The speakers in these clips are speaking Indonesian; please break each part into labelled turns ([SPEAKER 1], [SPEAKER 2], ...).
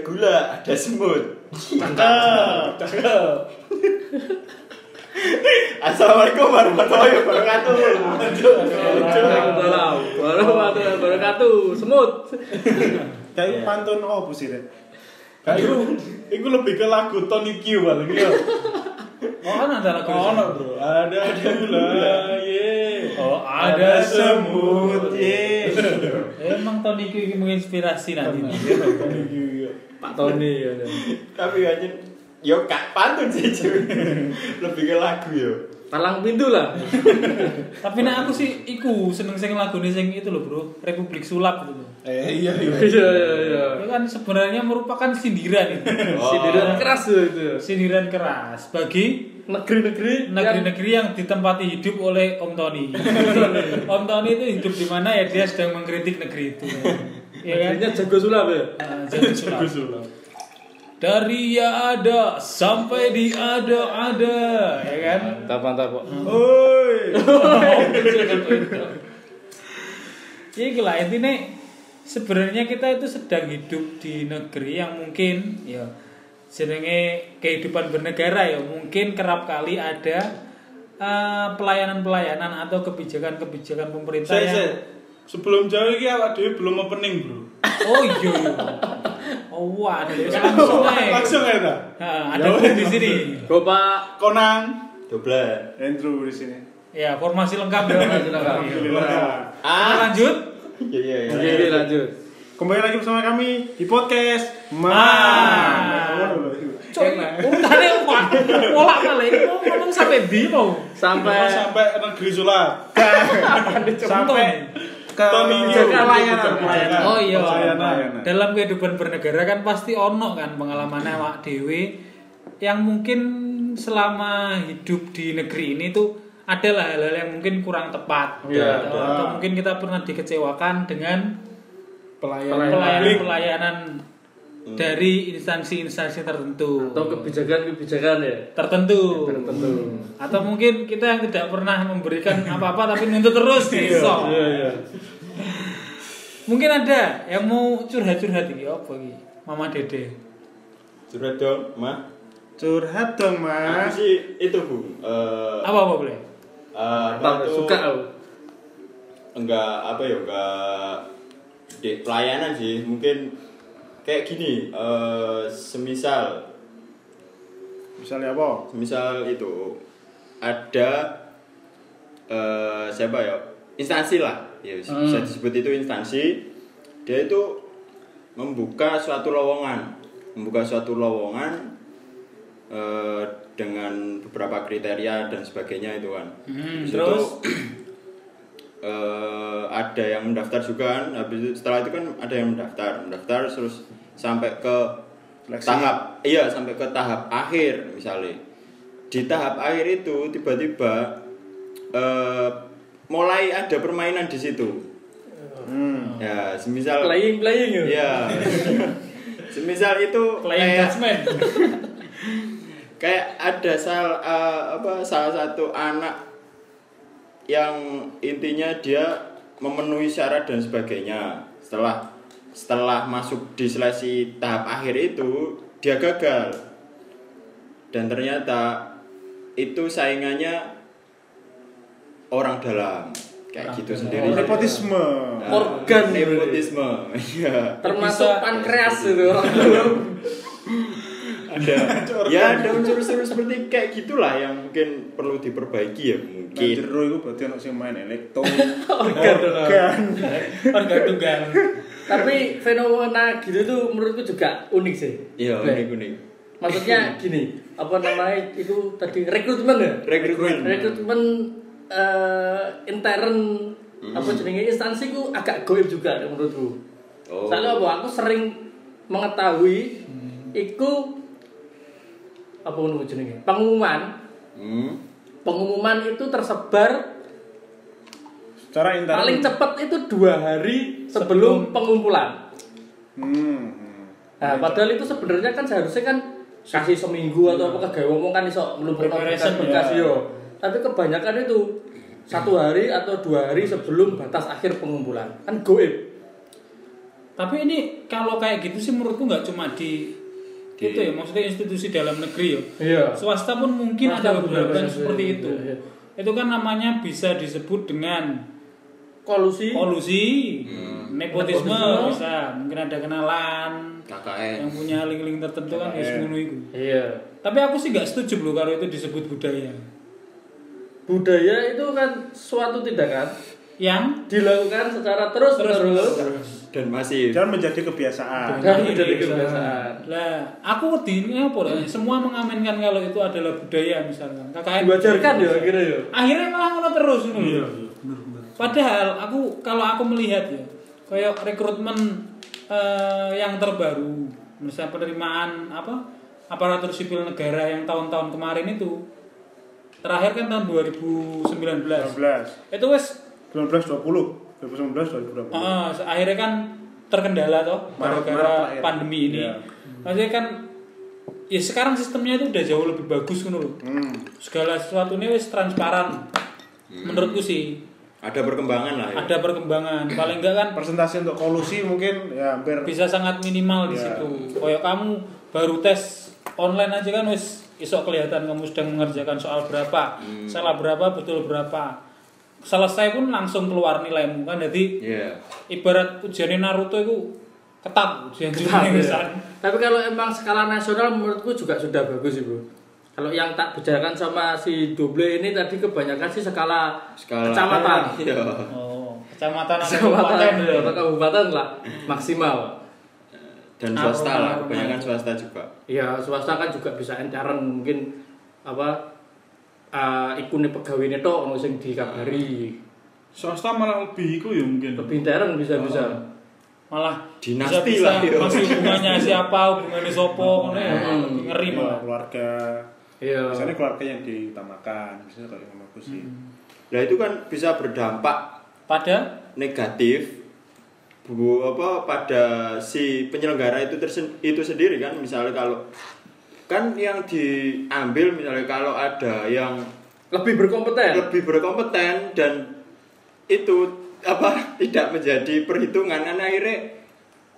[SPEAKER 1] ada semut.
[SPEAKER 2] Cakep. Cakep.
[SPEAKER 1] Assalamualaikum warahmatullahi wabarakatuh.
[SPEAKER 3] Assalamualaikum warahmatullahi wabarakatuh. Semut.
[SPEAKER 1] Iya.
[SPEAKER 2] Kayak pantun opo sih Rek? Kayak iku iku lebih ke lagu Tony Q paling ya.
[SPEAKER 4] Oh kan ada lagu.
[SPEAKER 2] Ono, Bro. Ada gula, ye.
[SPEAKER 4] Oh,
[SPEAKER 2] Ada semut, ye.
[SPEAKER 4] Eh, Emang Tony Q ini menginspirasi nanti.
[SPEAKER 2] Tony Q. iya.
[SPEAKER 3] Pak Tony ya.
[SPEAKER 1] Tapi aja yo kak pantun sih cuy. Lebih ke lagu yo.
[SPEAKER 3] Talang pintu lah.
[SPEAKER 4] Tapi nah aku sih iku seneng sing lagune sing itu loh, Bro. Republik Sulap itu loh.
[SPEAKER 2] Eh iya iya.
[SPEAKER 3] Iya iya iya.
[SPEAKER 4] Itu kan sebenarnya merupakan sindiran itu.
[SPEAKER 3] Sindiran keras tuh itu.
[SPEAKER 4] Sindiran keras bagi
[SPEAKER 3] Negeri-negeri
[SPEAKER 4] negeri-negeri yang ditempati hidup oleh Om Tony. Om Tony itu hidup di mana ya dia sedang mengkritik negeri itu.
[SPEAKER 3] Ya
[SPEAKER 4] Ya kan?
[SPEAKER 3] Negerinya jago sulap ya.
[SPEAKER 4] Nah, jadi sulap.
[SPEAKER 2] Bagus loh.
[SPEAKER 4] Dari ya ada sampai di ada ada, ya kan?
[SPEAKER 3] Mantap mantap kok.
[SPEAKER 2] Oi.
[SPEAKER 4] Iya gila intinya sebenarnya kita itu sedang hidup di negeri yang mungkin ya jenenge kehidupan bernegara ya mungkin kerap kali ada eh, pelayanan-pelayanan atau kebijakan-kebijakan pemerintah
[SPEAKER 2] Saya
[SPEAKER 4] yang
[SPEAKER 2] saya sebelum jauh ini awak dewi belum opening, Bro.
[SPEAKER 4] oh iya iya. oh wah ada langsung ae.
[SPEAKER 2] Langsung ya, Ta?
[SPEAKER 4] Nah, ada grup di sini
[SPEAKER 3] Go Pak.
[SPEAKER 2] Konang.
[SPEAKER 1] Doblan.
[SPEAKER 2] Andrew di sini.
[SPEAKER 4] ya formasi lengkap ya
[SPEAKER 3] Formasi lengkap.
[SPEAKER 2] Alhamdulillah.
[SPEAKER 4] Kita
[SPEAKER 1] Ah.
[SPEAKER 4] lanjut
[SPEAKER 1] Iya iya iya.
[SPEAKER 3] Oke oke, lanjut.
[SPEAKER 2] Kembali lagi bersama kami di podcast Man.
[SPEAKER 4] Man. coy urutannya empat bolak balik ini mau ngomong sampai di mau
[SPEAKER 2] Sampai
[SPEAKER 3] Sampai
[SPEAKER 2] sampai negeri sulap. Sampai ke
[SPEAKER 3] Tony Yu.
[SPEAKER 2] pelayanan.
[SPEAKER 3] Pelayanan.
[SPEAKER 4] Oh iya.
[SPEAKER 2] Pelayanan.
[SPEAKER 4] Dalam kehidupan bernegara kan pasti ono kan pengalaman awak dhewe yang mungkin selama hidup di negeri ini tuh adalah hal-hal yang mungkin kurang tepat
[SPEAKER 3] Iya,
[SPEAKER 4] atau,
[SPEAKER 2] ada.
[SPEAKER 4] atau mungkin kita pernah dikecewakan dengan
[SPEAKER 2] Pelayanan. publik.
[SPEAKER 4] pelayanan-pelayanan dari instansi-instansi tertentu
[SPEAKER 3] atau kebijakan-kebijakan ya.
[SPEAKER 4] tertentu
[SPEAKER 3] Tertentu.
[SPEAKER 4] atau mungkin kita yang tidak pernah memberikan apa-apa tapi nuntut terus besok
[SPEAKER 3] Iya iya.
[SPEAKER 4] mungkin ada yang mau curhat-curhat ini "Ya apa ini Mama Dede
[SPEAKER 1] Curhat dong, Ma.
[SPEAKER 2] Curhat dong,
[SPEAKER 1] Aku
[SPEAKER 2] Mas.
[SPEAKER 1] sih itu, Bu. Eh
[SPEAKER 4] apa apa boleh
[SPEAKER 1] eh, apa
[SPEAKER 3] Mantap,
[SPEAKER 1] itu?
[SPEAKER 3] suka aku.
[SPEAKER 1] enggak apa ya enggak di pelayanan sih mungkin kayak gini eh, semisal
[SPEAKER 2] Misalnya apa?
[SPEAKER 1] semisal itu ada eh, siapa ya instansi lah ya bisa disebut itu instansi dia itu membuka suatu lowongan membuka suatu lowongan eh, dengan beberapa kriteria dan sebagainya itu kan
[SPEAKER 4] Hmm,
[SPEAKER 1] Habis itu,
[SPEAKER 4] terus?
[SPEAKER 1] eh, ada yang mendaftar juga kan habis itu- setelah itu kan ada yang mendaftar mendaftar terus sampai ke
[SPEAKER 2] Seleksi.
[SPEAKER 1] tahap iya sampai ke tahap akhir misalnya di tahap akhir itu tiba-tiba eh, mulai ada permainan di situ
[SPEAKER 2] Hmm.
[SPEAKER 1] ya semisal
[SPEAKER 3] Playing playing ya.
[SPEAKER 4] Iya.
[SPEAKER 1] ya semisal itu
[SPEAKER 4] playing
[SPEAKER 1] kayak-
[SPEAKER 4] judgment
[SPEAKER 1] kayak ada salah apa salah satu anak yang intinya dia memenuhi syarat dan sebagainya setelah setelah masuk di seleksi tahap akhir itu dia gagal dan ternyata itu saingannya orang dalam kayak gitu sendiri
[SPEAKER 2] Oh, Nepotisme.
[SPEAKER 1] Nah,
[SPEAKER 3] Organ.
[SPEAKER 1] nepotisme Iya.
[SPEAKER 3] Termasuk
[SPEAKER 4] Bisa.
[SPEAKER 3] pankreas itu orang dulu.
[SPEAKER 1] ada ya ada unsur-unsur seperti kayak gitulah yang mungkin perlu diperbaiki ya
[SPEAKER 2] Nah,
[SPEAKER 1] mungkin
[SPEAKER 2] jero itu berarti anak sing main elektro. Oh, iya,
[SPEAKER 3] Organ dulu.
[SPEAKER 4] organ tunggal
[SPEAKER 3] Tapi fenomena gitu tuh menurutku juga unik sih.
[SPEAKER 1] iya
[SPEAKER 3] Baik.
[SPEAKER 1] unik-unik
[SPEAKER 3] Maksudnya gini, apa namanya itu tadi rekrutmen ya?
[SPEAKER 1] rekrutmen
[SPEAKER 3] Rekrutmen eh, intern
[SPEAKER 1] Hmm.
[SPEAKER 3] apa jenenge instansi ku agak goib juga nek menurutku.
[SPEAKER 1] Oh.
[SPEAKER 3] Soalnya apa? Aku sering mengetahui
[SPEAKER 1] Hmm.
[SPEAKER 3] iku apa ngono jenenge? Pengumuman,
[SPEAKER 1] hmm.
[SPEAKER 3] pengumuman itu tersebar
[SPEAKER 2] Secara intern.
[SPEAKER 3] paling cepat itu dua hari sebelum pengumpulan.
[SPEAKER 2] Hmm.
[SPEAKER 3] Nah, padahal itu sebenarnya kan seharusnya kan kasih seminggu atau apa kayak ngomong kan iso ngelumpurno
[SPEAKER 4] Preparation,
[SPEAKER 3] berkas-berkas yo.
[SPEAKER 2] ya.
[SPEAKER 3] iya. Tapi kebanyakan itu satu hari atau dua hari sebelum batas akhir pengumpulan kan goib
[SPEAKER 4] tapi ini kalau kayak gitu sih menurutku nggak cuma di itu ya maksudnya institusi dalam negeri ya
[SPEAKER 2] Iya.
[SPEAKER 4] swasta pun mungkin
[SPEAKER 3] Swasta
[SPEAKER 4] ada
[SPEAKER 3] pun
[SPEAKER 4] beberapa
[SPEAKER 3] ada
[SPEAKER 4] yang
[SPEAKER 3] seperti
[SPEAKER 4] seperti
[SPEAKER 3] itu,
[SPEAKER 4] itu
[SPEAKER 3] iya.
[SPEAKER 4] itu kan namanya bisa disebut dengan
[SPEAKER 3] Kolusi.
[SPEAKER 4] kolusi nepotisme
[SPEAKER 3] Hmm. Nepotisme.
[SPEAKER 4] bisa mungkin ada kenalan yang
[SPEAKER 1] KKN
[SPEAKER 4] punya link-link tertentu kan wis ngono iku.
[SPEAKER 3] Iya.
[SPEAKER 4] Tapi aku sih nggak setuju loh kalau itu disebut budaya.
[SPEAKER 3] Budaya itu kan suatu tindakan
[SPEAKER 4] Yang
[SPEAKER 3] dilakukan secara terus menerus
[SPEAKER 1] dan masih
[SPEAKER 2] Dan menjadi kebiasaan.
[SPEAKER 3] dan menjadi kebiasaan.
[SPEAKER 4] lah aku wedi apa lah, semua mengaminkan kalau itu adalah budaya misalkan. KKN
[SPEAKER 3] Diwajarkan ya akhirnya ya.
[SPEAKER 4] Akhirnya malah ngono terus ngono.
[SPEAKER 2] Iya,
[SPEAKER 4] lho. Padahal aku kalau aku melihat ya, kayak rekrutmen eh, yang terbaru, misalnya penerimaan apa aparatur sipil negara yang tahun-tahun kemarin itu terakhir kan tahun 2019
[SPEAKER 2] 19,
[SPEAKER 4] itu wes
[SPEAKER 2] 19, 20, 2019, 2020.
[SPEAKER 4] Ah, akhirnya kan terkendala toh
[SPEAKER 2] Maret- Maret lah
[SPEAKER 4] gara-gara
[SPEAKER 2] ya.
[SPEAKER 4] pandemi ini.
[SPEAKER 2] Iya.
[SPEAKER 4] Maksudnya kan ya sekarang sistemnya itu udah jauh lebih bagus kan loh.
[SPEAKER 2] Hmm.
[SPEAKER 4] Segala sesuatunya wis transparan. Menurutku sih
[SPEAKER 1] ada perkembangan lah ya.
[SPEAKER 4] ada perkembangan. Paling enggak kan
[SPEAKER 2] Persentase untuk kolusi mungkin ya hampir
[SPEAKER 4] bisa sangat minimal di
[SPEAKER 2] Iya.
[SPEAKER 4] situ. Kayak kamu baru tes online aja kan wis esok kelihatan kamu sedang mengerjakan soal berapa, salah berapa, betul berapa. Selesai pun langsung keluar nilaimu kan. Jadi
[SPEAKER 1] Iya.
[SPEAKER 4] ibarat ujiannya Naruto itu ketat ujian
[SPEAKER 3] Ketat,
[SPEAKER 4] jurusnya
[SPEAKER 3] ya.
[SPEAKER 4] misal.
[SPEAKER 3] Tapi kalau emang skala nasional menurutku juga sudah bagus sih bro. Kalau yang tak bicarakan sama si Doble ini tadi kebanyakan sih skala,
[SPEAKER 1] skala
[SPEAKER 3] kecamatan,
[SPEAKER 1] Iya.
[SPEAKER 4] Oh, kecamatan atau
[SPEAKER 3] kecamatan iya.
[SPEAKER 4] kabupaten ya.
[SPEAKER 3] atau kabupaten lah maksimal.
[SPEAKER 1] dan swasta
[SPEAKER 4] Aroma-
[SPEAKER 1] lah
[SPEAKER 4] aroma.
[SPEAKER 1] kebanyakan swasta juga
[SPEAKER 3] Ya swasta kan juga bisa enteran mungkin apa eh ikune pegawai ini toh ono sing dikabari
[SPEAKER 5] swasta malah lebih iku ya mungkin
[SPEAKER 3] lebih enteran bisa bisa.
[SPEAKER 4] Malah
[SPEAKER 1] Dinasti lah,
[SPEAKER 4] bisa-bisa
[SPEAKER 1] yo.
[SPEAKER 4] Masih hubungannya siapa, hubungannya sopo, ngono ya.
[SPEAKER 3] Hmm.
[SPEAKER 4] lebih Ngeri
[SPEAKER 2] ya,
[SPEAKER 4] malah. Ya.
[SPEAKER 2] keluarga.
[SPEAKER 3] Iya.
[SPEAKER 2] Biasanya keluarga yang diutamakan, biasanya kalau yang aku sih.
[SPEAKER 5] Hmm.
[SPEAKER 1] nah itu kan bisa berdampak
[SPEAKER 4] Pada
[SPEAKER 1] negatif bu apa pada si penyelenggara itu tersen, itu sendiri kan misalnya kalau kan yang diambil misalnya kalau ada yang
[SPEAKER 3] Lebih berkompeten.
[SPEAKER 1] lebih berkompeten dan itu apa tidak menjadi perhitungan kan akhirnya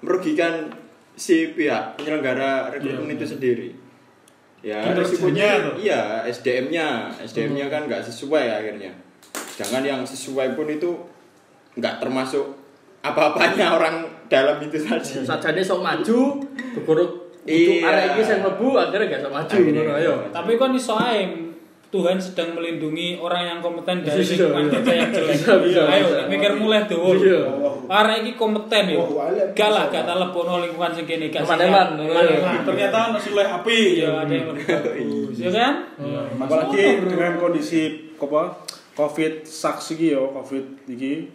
[SPEAKER 1] merugikan si pihak penyelenggara rekrutmen itu sendiri ya
[SPEAKER 5] Dan
[SPEAKER 1] resikonya
[SPEAKER 5] kerjanya tuh.
[SPEAKER 1] iya SDM-nya SDM-nya kan nggak sesuai akhirnya sedangkan yang sesuai pun itu nggak termasuk apa-apanya orang dalam itu saja
[SPEAKER 3] Sajane sok maju, kegorok
[SPEAKER 1] Iya.
[SPEAKER 3] Iya. Arek iki sing mlebu akhirnya gak sok maju
[SPEAKER 1] Akhirnya
[SPEAKER 3] ngono ya.
[SPEAKER 1] gak
[SPEAKER 3] ayo.
[SPEAKER 1] maju.
[SPEAKER 4] Tapi kan iso ae Tuhan sedang melindungi orang yang kompeten dari
[SPEAKER 3] Bisa,
[SPEAKER 4] lingkungan
[SPEAKER 3] iya.
[SPEAKER 4] kita yang jelek.
[SPEAKER 3] Bisa, bisa,
[SPEAKER 4] Ayo
[SPEAKER 3] bisa.
[SPEAKER 4] mikir mulai dulu.
[SPEAKER 3] Iya.
[SPEAKER 4] Arek iki kompeten ya.
[SPEAKER 2] Wah, alam.
[SPEAKER 4] Gak lah gak tak lebono lingkungan sing kene gak. siap.
[SPEAKER 3] Teman-teman, iya.
[SPEAKER 4] Teman-teman.
[SPEAKER 5] ternyata anak sulih HP
[SPEAKER 4] Iya, ada yang lebih bagus. Ya kan?
[SPEAKER 2] Apalagi dengan kondisi apa COVID saksi iki yo, COVID iki.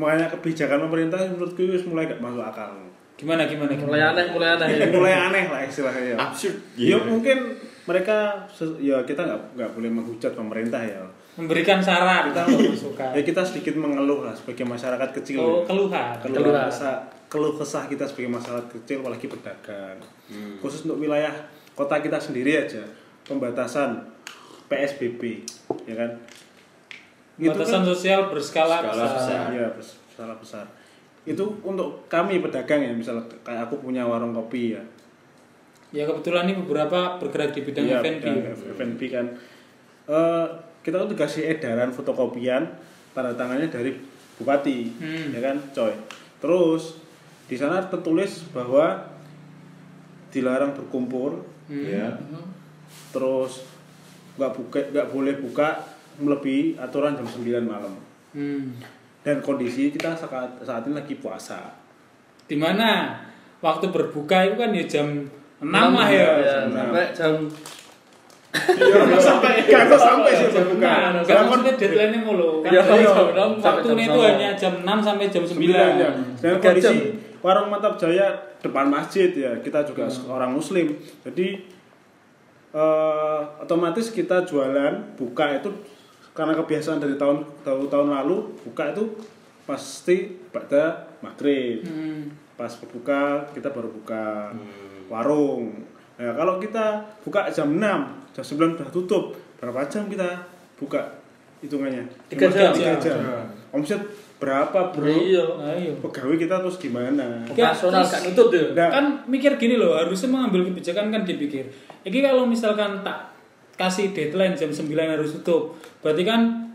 [SPEAKER 2] Makanya kebijakan pemerintah menurutku wis mulai gak masuk akal.
[SPEAKER 4] Gimana gimana
[SPEAKER 3] Mulai
[SPEAKER 4] gimana?
[SPEAKER 3] aneh, mulai aneh.
[SPEAKER 4] Iya.
[SPEAKER 2] Mulai aneh lah istilahnya ya.
[SPEAKER 1] absurd
[SPEAKER 2] Ya
[SPEAKER 1] iya
[SPEAKER 2] mungkin mereka ses- ya kita nggak nggak boleh menghujat pemerintah ya.
[SPEAKER 4] Memberikan saran.
[SPEAKER 2] Kita
[SPEAKER 4] suka.
[SPEAKER 2] ya kita sedikit mengeluh lah sebagai masyarakat kecil.
[SPEAKER 4] Oh,
[SPEAKER 2] ya.
[SPEAKER 4] keluhan.
[SPEAKER 2] keluh
[SPEAKER 3] Keluhan.
[SPEAKER 2] kesah keluh kesah kita sebagai masyarakat kecil apalagi pedagang khusus untuk wilayah kota kita sendiri aja pembatasan PSBB ya kan Itu
[SPEAKER 4] Gitu kan? Batasan sosial berskala
[SPEAKER 1] Skala
[SPEAKER 4] besar.
[SPEAKER 1] besar.
[SPEAKER 2] kan, iya bes- salah besar itu untuk kami pedagang ya misalnya kayak aku punya warung kopi ya
[SPEAKER 4] Ya kebetulan ini beberapa bergerak di bidang
[SPEAKER 2] Iya,
[SPEAKER 4] F&B.
[SPEAKER 2] bidang F- F&B kan Eh, kita tuh dikasih edaran fotokopian tanda tangannya dari bupati
[SPEAKER 4] Hmm.
[SPEAKER 2] ya kan coy terus di sana tertulis bahwa dilarang berkumpul
[SPEAKER 1] Iya.
[SPEAKER 2] terus nggak buka nggak boleh buka melebihi aturan jam 9 malam
[SPEAKER 4] Hmm.
[SPEAKER 2] dan kondisi kita saat, saat ini lagi puasa
[SPEAKER 4] Di mana waktu berbuka itu kan ya jam 6 lah ya.
[SPEAKER 3] Ya,
[SPEAKER 2] Jam enam.
[SPEAKER 3] Sampai jam
[SPEAKER 4] Iya,
[SPEAKER 2] sampai kalau sampai sih jam buka
[SPEAKER 4] Nah,
[SPEAKER 2] Karena
[SPEAKER 4] enggak
[SPEAKER 2] kon-
[SPEAKER 4] maksudnya deadline-nya mulu. Kan
[SPEAKER 3] Iya,
[SPEAKER 4] dari
[SPEAKER 3] iya.
[SPEAKER 4] jam enam,
[SPEAKER 3] Sampai
[SPEAKER 4] waktunya
[SPEAKER 3] jam
[SPEAKER 4] itu
[SPEAKER 3] enam.
[SPEAKER 4] hanya jam 6 sampai jam 9.
[SPEAKER 2] sembilan ya. Dan
[SPEAKER 3] Tiga
[SPEAKER 2] kondisi
[SPEAKER 3] jam.
[SPEAKER 2] warung mantap jaya depan masjid ya kita
[SPEAKER 3] Hmm.
[SPEAKER 2] juga orang muslim jadi eh, otomatis kita jualan buka itu karena kebiasaan dari tahun tahun tahun lalu buka itu pasti pada maghrib
[SPEAKER 4] Hmm.
[SPEAKER 2] pas berbuka kita baru buka
[SPEAKER 3] Hmm.
[SPEAKER 2] warung nah, kalau kita buka jam 6 jam 9 sudah tutup berapa jam kita buka hitungannya
[SPEAKER 3] Tiga
[SPEAKER 2] Cuma
[SPEAKER 3] jam.
[SPEAKER 2] tiga
[SPEAKER 4] Tiga
[SPEAKER 2] jam. omset berapa bro
[SPEAKER 3] Iya.
[SPEAKER 4] Nah, iya.
[SPEAKER 2] pegawai kita terus gimana
[SPEAKER 3] Operasional gak ya. nutup tuh.
[SPEAKER 2] Nah.
[SPEAKER 4] kan mikir gini loh harusnya mengambil kebijakan kan dipikir ini kalau misalkan tak kasih deadline jam 9 harus tutup berarti kan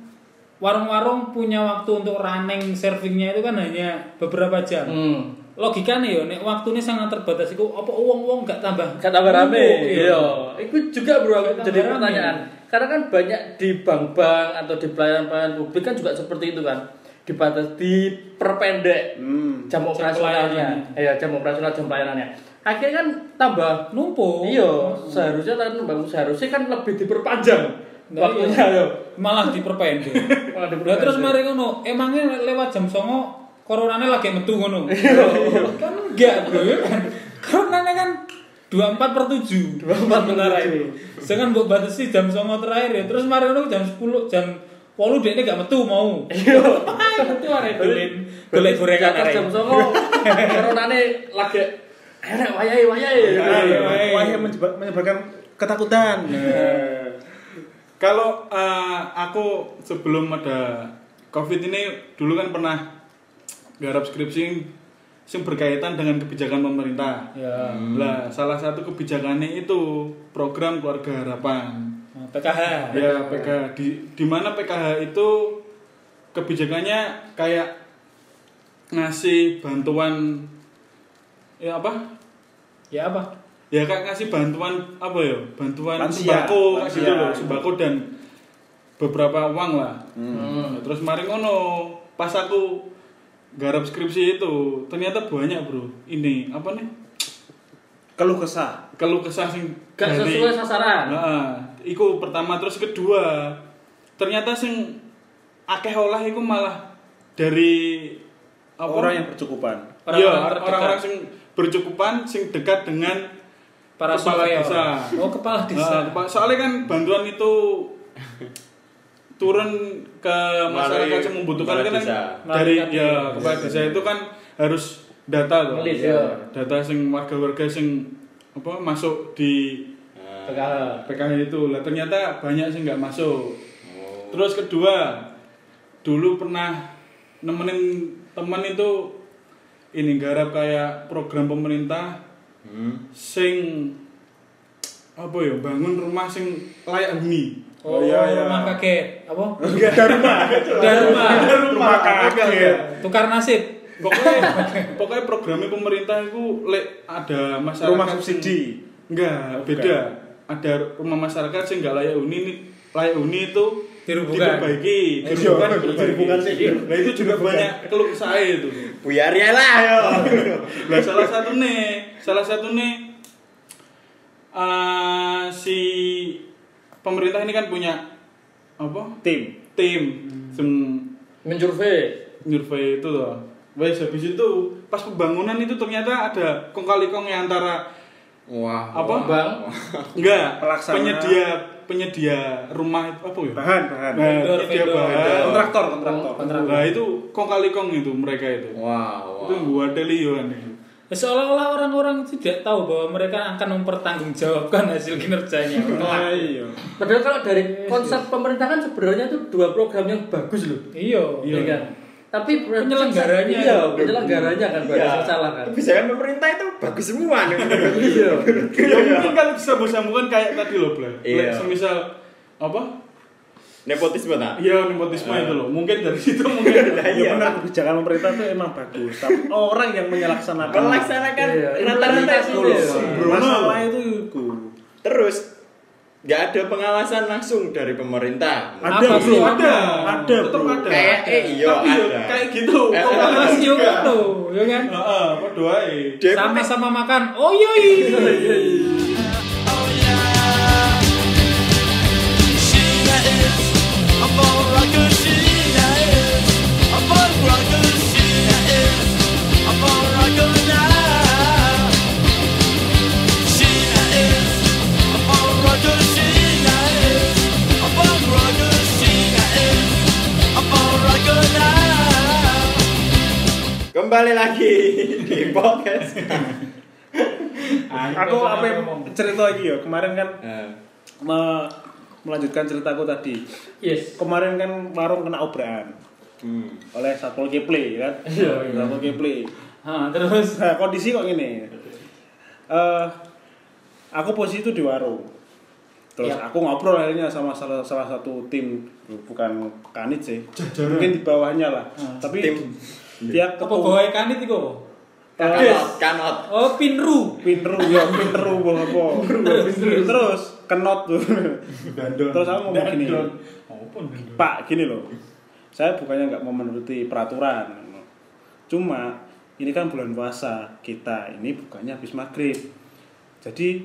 [SPEAKER 4] warung-warung punya waktu untuk running servingnya itu kan hanya beberapa jam
[SPEAKER 3] Hmm.
[SPEAKER 4] logikanya ya nek waktunya sangat terbatas iku apa uang-uang gak tambah
[SPEAKER 3] Gak tambah rame.
[SPEAKER 4] Iya.
[SPEAKER 3] Iya. Itu juga bro jadi
[SPEAKER 4] Gak tambah rame.
[SPEAKER 3] pertanyaan. Karena kan banyak di bank-bank atau di pelayanan-pelayanan publik kan juga seperti itu kan. Dibatas diperpendek jam operasionalnya. Iya, jam operasional jam pelayanannya. Akhirnya kan tambah
[SPEAKER 4] numpuk
[SPEAKER 3] Iya, seharusnya kan bangun seharusnya kan lebih diperpanjang
[SPEAKER 4] Nah,
[SPEAKER 3] waktunya
[SPEAKER 4] iya.
[SPEAKER 3] yo.
[SPEAKER 4] malah diperpendek
[SPEAKER 3] Malah diperpendek.
[SPEAKER 4] Lah terus mari ngono emangnya le- lewat jam songo coronanya lagi metu ngono kan enggak bro ya kan coronanya kan 24 per
[SPEAKER 3] 24
[SPEAKER 4] 7
[SPEAKER 3] per
[SPEAKER 4] Sementara
[SPEAKER 3] 7.
[SPEAKER 4] itu. jangan buat batasi jam songo terakhir ya terus mari ngono jam 10 jam 8 dia ini gak metu mau
[SPEAKER 3] Iya.
[SPEAKER 4] metu arek dolin dolin gorengan
[SPEAKER 3] Atas
[SPEAKER 4] arek
[SPEAKER 3] jam songo. Coronane lagi enak wayahe wayahe.
[SPEAKER 5] Iya,
[SPEAKER 4] Wayahe, wayahe.
[SPEAKER 2] Nah, wah yang menyebar- menyebarkan ketakutan Nah.
[SPEAKER 5] Iya. Kalau eh, aku sebelum ada Eh, COVID ini dulu kan pernah garap skripsi yang, yang berkaitan dengan kebijakan pemerintah. Hmm.
[SPEAKER 4] ya
[SPEAKER 5] Lah, salah satu kebijakannya itu program keluarga harapan.
[SPEAKER 4] nah, PKH
[SPEAKER 5] Ya PKH di di mana PKH itu kebijakannya kayak ngasih bantuan ya apa?
[SPEAKER 4] ya apa
[SPEAKER 5] Ya kayak ngasih bantuan apa ya? Bantuan
[SPEAKER 2] Lansia.
[SPEAKER 5] sembako kayak
[SPEAKER 2] Lansia. iya.
[SPEAKER 5] gitu loh, sembako dan beberapa uang lah.
[SPEAKER 3] Hmm.
[SPEAKER 5] Ya, Terus mari ngono, pas aku garap skripsi itu ternyata banyak bro ini apa nih
[SPEAKER 2] keluh kesah
[SPEAKER 5] kalau kesah sing
[SPEAKER 3] Gak
[SPEAKER 5] dari-
[SPEAKER 3] sesuai sasaran.
[SPEAKER 5] Nah, iku pertama terus kedua. Ternyata sing akeh olah iku malah dari apa?
[SPEAKER 2] orang yang bercukupan
[SPEAKER 5] Iya, orang-orang
[SPEAKER 4] Orang-orang terdekat.
[SPEAKER 5] sing bercukupan sing dekat dengan
[SPEAKER 4] para
[SPEAKER 5] kepala
[SPEAKER 4] surveyor.
[SPEAKER 5] desa.
[SPEAKER 4] oh kepala
[SPEAKER 5] Nah,
[SPEAKER 4] desa
[SPEAKER 5] kepa- soalnya kan bantuan itu turun ke masyarakat
[SPEAKER 1] Melalui
[SPEAKER 5] yang membutuhkan
[SPEAKER 1] kepala
[SPEAKER 5] kan
[SPEAKER 1] desa.
[SPEAKER 5] dari
[SPEAKER 4] Melalui
[SPEAKER 5] ya kepala
[SPEAKER 2] Iya.
[SPEAKER 5] desa itu kan harus data tuh.
[SPEAKER 3] Melis, ya.
[SPEAKER 5] Data sing warga-warga sing apa masuk di
[SPEAKER 2] Nah.
[SPEAKER 3] PKH.
[SPEAKER 5] PKH itu lah ternyata banyak sih nggak masuk
[SPEAKER 2] Oh.
[SPEAKER 5] terus kedua dulu pernah nemenin temen itu ini garap kayak program pemerintah
[SPEAKER 1] Hmm.
[SPEAKER 5] sing apa ya bangun rumah sing layak huni
[SPEAKER 4] oh,
[SPEAKER 2] Oh, iya, iya.
[SPEAKER 4] rumah kaget apa
[SPEAKER 2] Dharma rumah kaget
[SPEAKER 4] tukar nasib
[SPEAKER 5] pokoknya pokoknya programnya pemerintah itu lek ada masyarakat
[SPEAKER 2] rumah
[SPEAKER 5] sing-
[SPEAKER 2] subsidi
[SPEAKER 5] Enggak, beda. Ada rumah masyarakat sih enggak layak huni nih. Layak huni itu
[SPEAKER 4] Dirubuhkan.
[SPEAKER 5] diperbaiki,
[SPEAKER 2] Eh,
[SPEAKER 5] dirubuhkan,
[SPEAKER 2] iya,
[SPEAKER 5] diperbaiki.
[SPEAKER 2] dirubuhkan sih.
[SPEAKER 5] Nah itu juga banyak keluh kesah itu.
[SPEAKER 1] Buyar ya lah yo.
[SPEAKER 5] Nah salah satu nih, salah satu nih eh, si pemerintah ini kan punya apa?
[SPEAKER 2] tim
[SPEAKER 5] Tim
[SPEAKER 2] Hmm.
[SPEAKER 5] sing
[SPEAKER 3] Mensurvey.
[SPEAKER 5] nyurvei itu loh. Wes habis itu pas pembangunan itu ternyata ada kong kali kong yang antara
[SPEAKER 1] Wah.
[SPEAKER 5] apa?
[SPEAKER 3] Bang.
[SPEAKER 5] Enggak,
[SPEAKER 2] Pelaksana.
[SPEAKER 5] penyedia penyedia rumah itu apa ya?
[SPEAKER 2] bahan bahan
[SPEAKER 5] Nah,
[SPEAKER 4] Vendor,
[SPEAKER 5] penyedia
[SPEAKER 4] vendor,
[SPEAKER 5] bahan.
[SPEAKER 4] vendor.
[SPEAKER 2] kontraktor kontraktor
[SPEAKER 5] Nah, itu kong kali kong itu mereka itu.
[SPEAKER 1] Wah,
[SPEAKER 5] Itu
[SPEAKER 1] wah.
[SPEAKER 5] gua delioan
[SPEAKER 4] Ya, Seolah-olah orang-orang tidak tahu bahwa mereka akan mempertanggungjawabkan hasil kinerjanya.
[SPEAKER 2] Nah, iya
[SPEAKER 3] Padahal kalau dari konsep pemerintah kan sebenarnya itu dua program yang bagus loh.
[SPEAKER 4] iya.
[SPEAKER 5] Iya.
[SPEAKER 3] Ya kan? Tapi
[SPEAKER 4] Penyelenggaranya.
[SPEAKER 3] iya, penyelenggaranya kan banyak
[SPEAKER 1] Iya.
[SPEAKER 3] yang salah kan.
[SPEAKER 1] Kebijakan pemerintah itu bagus semua nih.
[SPEAKER 3] Iya.
[SPEAKER 5] Ya mungkin kan bisa bersambungan kayak tadi loh, Bla.
[SPEAKER 1] Iya.
[SPEAKER 5] Like, Semisal apa?
[SPEAKER 1] Nepotisme tak?
[SPEAKER 5] Ya nepotisme itu loh. Mungkin dari situ mungkin
[SPEAKER 1] Nah,
[SPEAKER 2] Iya
[SPEAKER 1] iya.
[SPEAKER 2] benar kebijakan pemerintah itu emang bagus, tapi orang yang melaksanakan
[SPEAKER 1] Melaksanakan
[SPEAKER 3] Iya.
[SPEAKER 1] rata-rata
[SPEAKER 3] Implementasi
[SPEAKER 1] mulu.
[SPEAKER 3] iya.
[SPEAKER 2] masalah itu iku.
[SPEAKER 1] Terus nggak ada pengawasan langsung dari pemerintah.
[SPEAKER 2] Ada
[SPEAKER 4] Apa
[SPEAKER 2] bro,
[SPEAKER 4] sih?
[SPEAKER 2] ada, Nah, ada,
[SPEAKER 5] tetap
[SPEAKER 2] bro.
[SPEAKER 5] ada.
[SPEAKER 1] Kayak eh iya
[SPEAKER 5] Tapi ya,
[SPEAKER 1] ada.
[SPEAKER 5] kayak gitu.
[SPEAKER 1] Eh,
[SPEAKER 5] Kong
[SPEAKER 1] eh,
[SPEAKER 5] kali
[SPEAKER 4] Terus
[SPEAKER 5] kong
[SPEAKER 4] yo
[SPEAKER 5] juga.
[SPEAKER 4] ngono, ya kan?
[SPEAKER 5] Heeh, padha ae.
[SPEAKER 1] Dia
[SPEAKER 4] Sama-sama makan. Oh iya. iya.
[SPEAKER 1] Kembali lagi di podcast. Nah,
[SPEAKER 2] Aku apa yang cerita lagi ya kemarin kan
[SPEAKER 1] Eh,
[SPEAKER 2] me- melanjutkan ceritaku tadi.
[SPEAKER 3] Yes.
[SPEAKER 2] Kemarin kan warung kena obrakan
[SPEAKER 1] Hmm.
[SPEAKER 2] oleh Satpol Pp kan.
[SPEAKER 4] Iya, iya.
[SPEAKER 2] Satpol Pp.
[SPEAKER 4] Ah, terus
[SPEAKER 2] Nah, kondisi kok gini. Eh aku posisi itu di warung. Terus
[SPEAKER 4] Iya.
[SPEAKER 2] aku ngobrol akhirnya sama salah, salah satu tim bukan kanit sih. Mungkin di bawahnya lah. Tapi
[SPEAKER 1] Tim.
[SPEAKER 4] Ah,
[SPEAKER 2] dia
[SPEAKER 4] apa
[SPEAKER 2] ketum-
[SPEAKER 4] bawa kanit iku?
[SPEAKER 1] Kanot, kanot.
[SPEAKER 4] Oh, pinru.
[SPEAKER 2] pinteru ya pinteru bawa apa terus terus kenot tuh terus aku ngomong gini pak gini loh saya bukannya nggak mau menuruti peraturan cuma ini kan bulan puasa kita ini bukannya habis maghrib jadi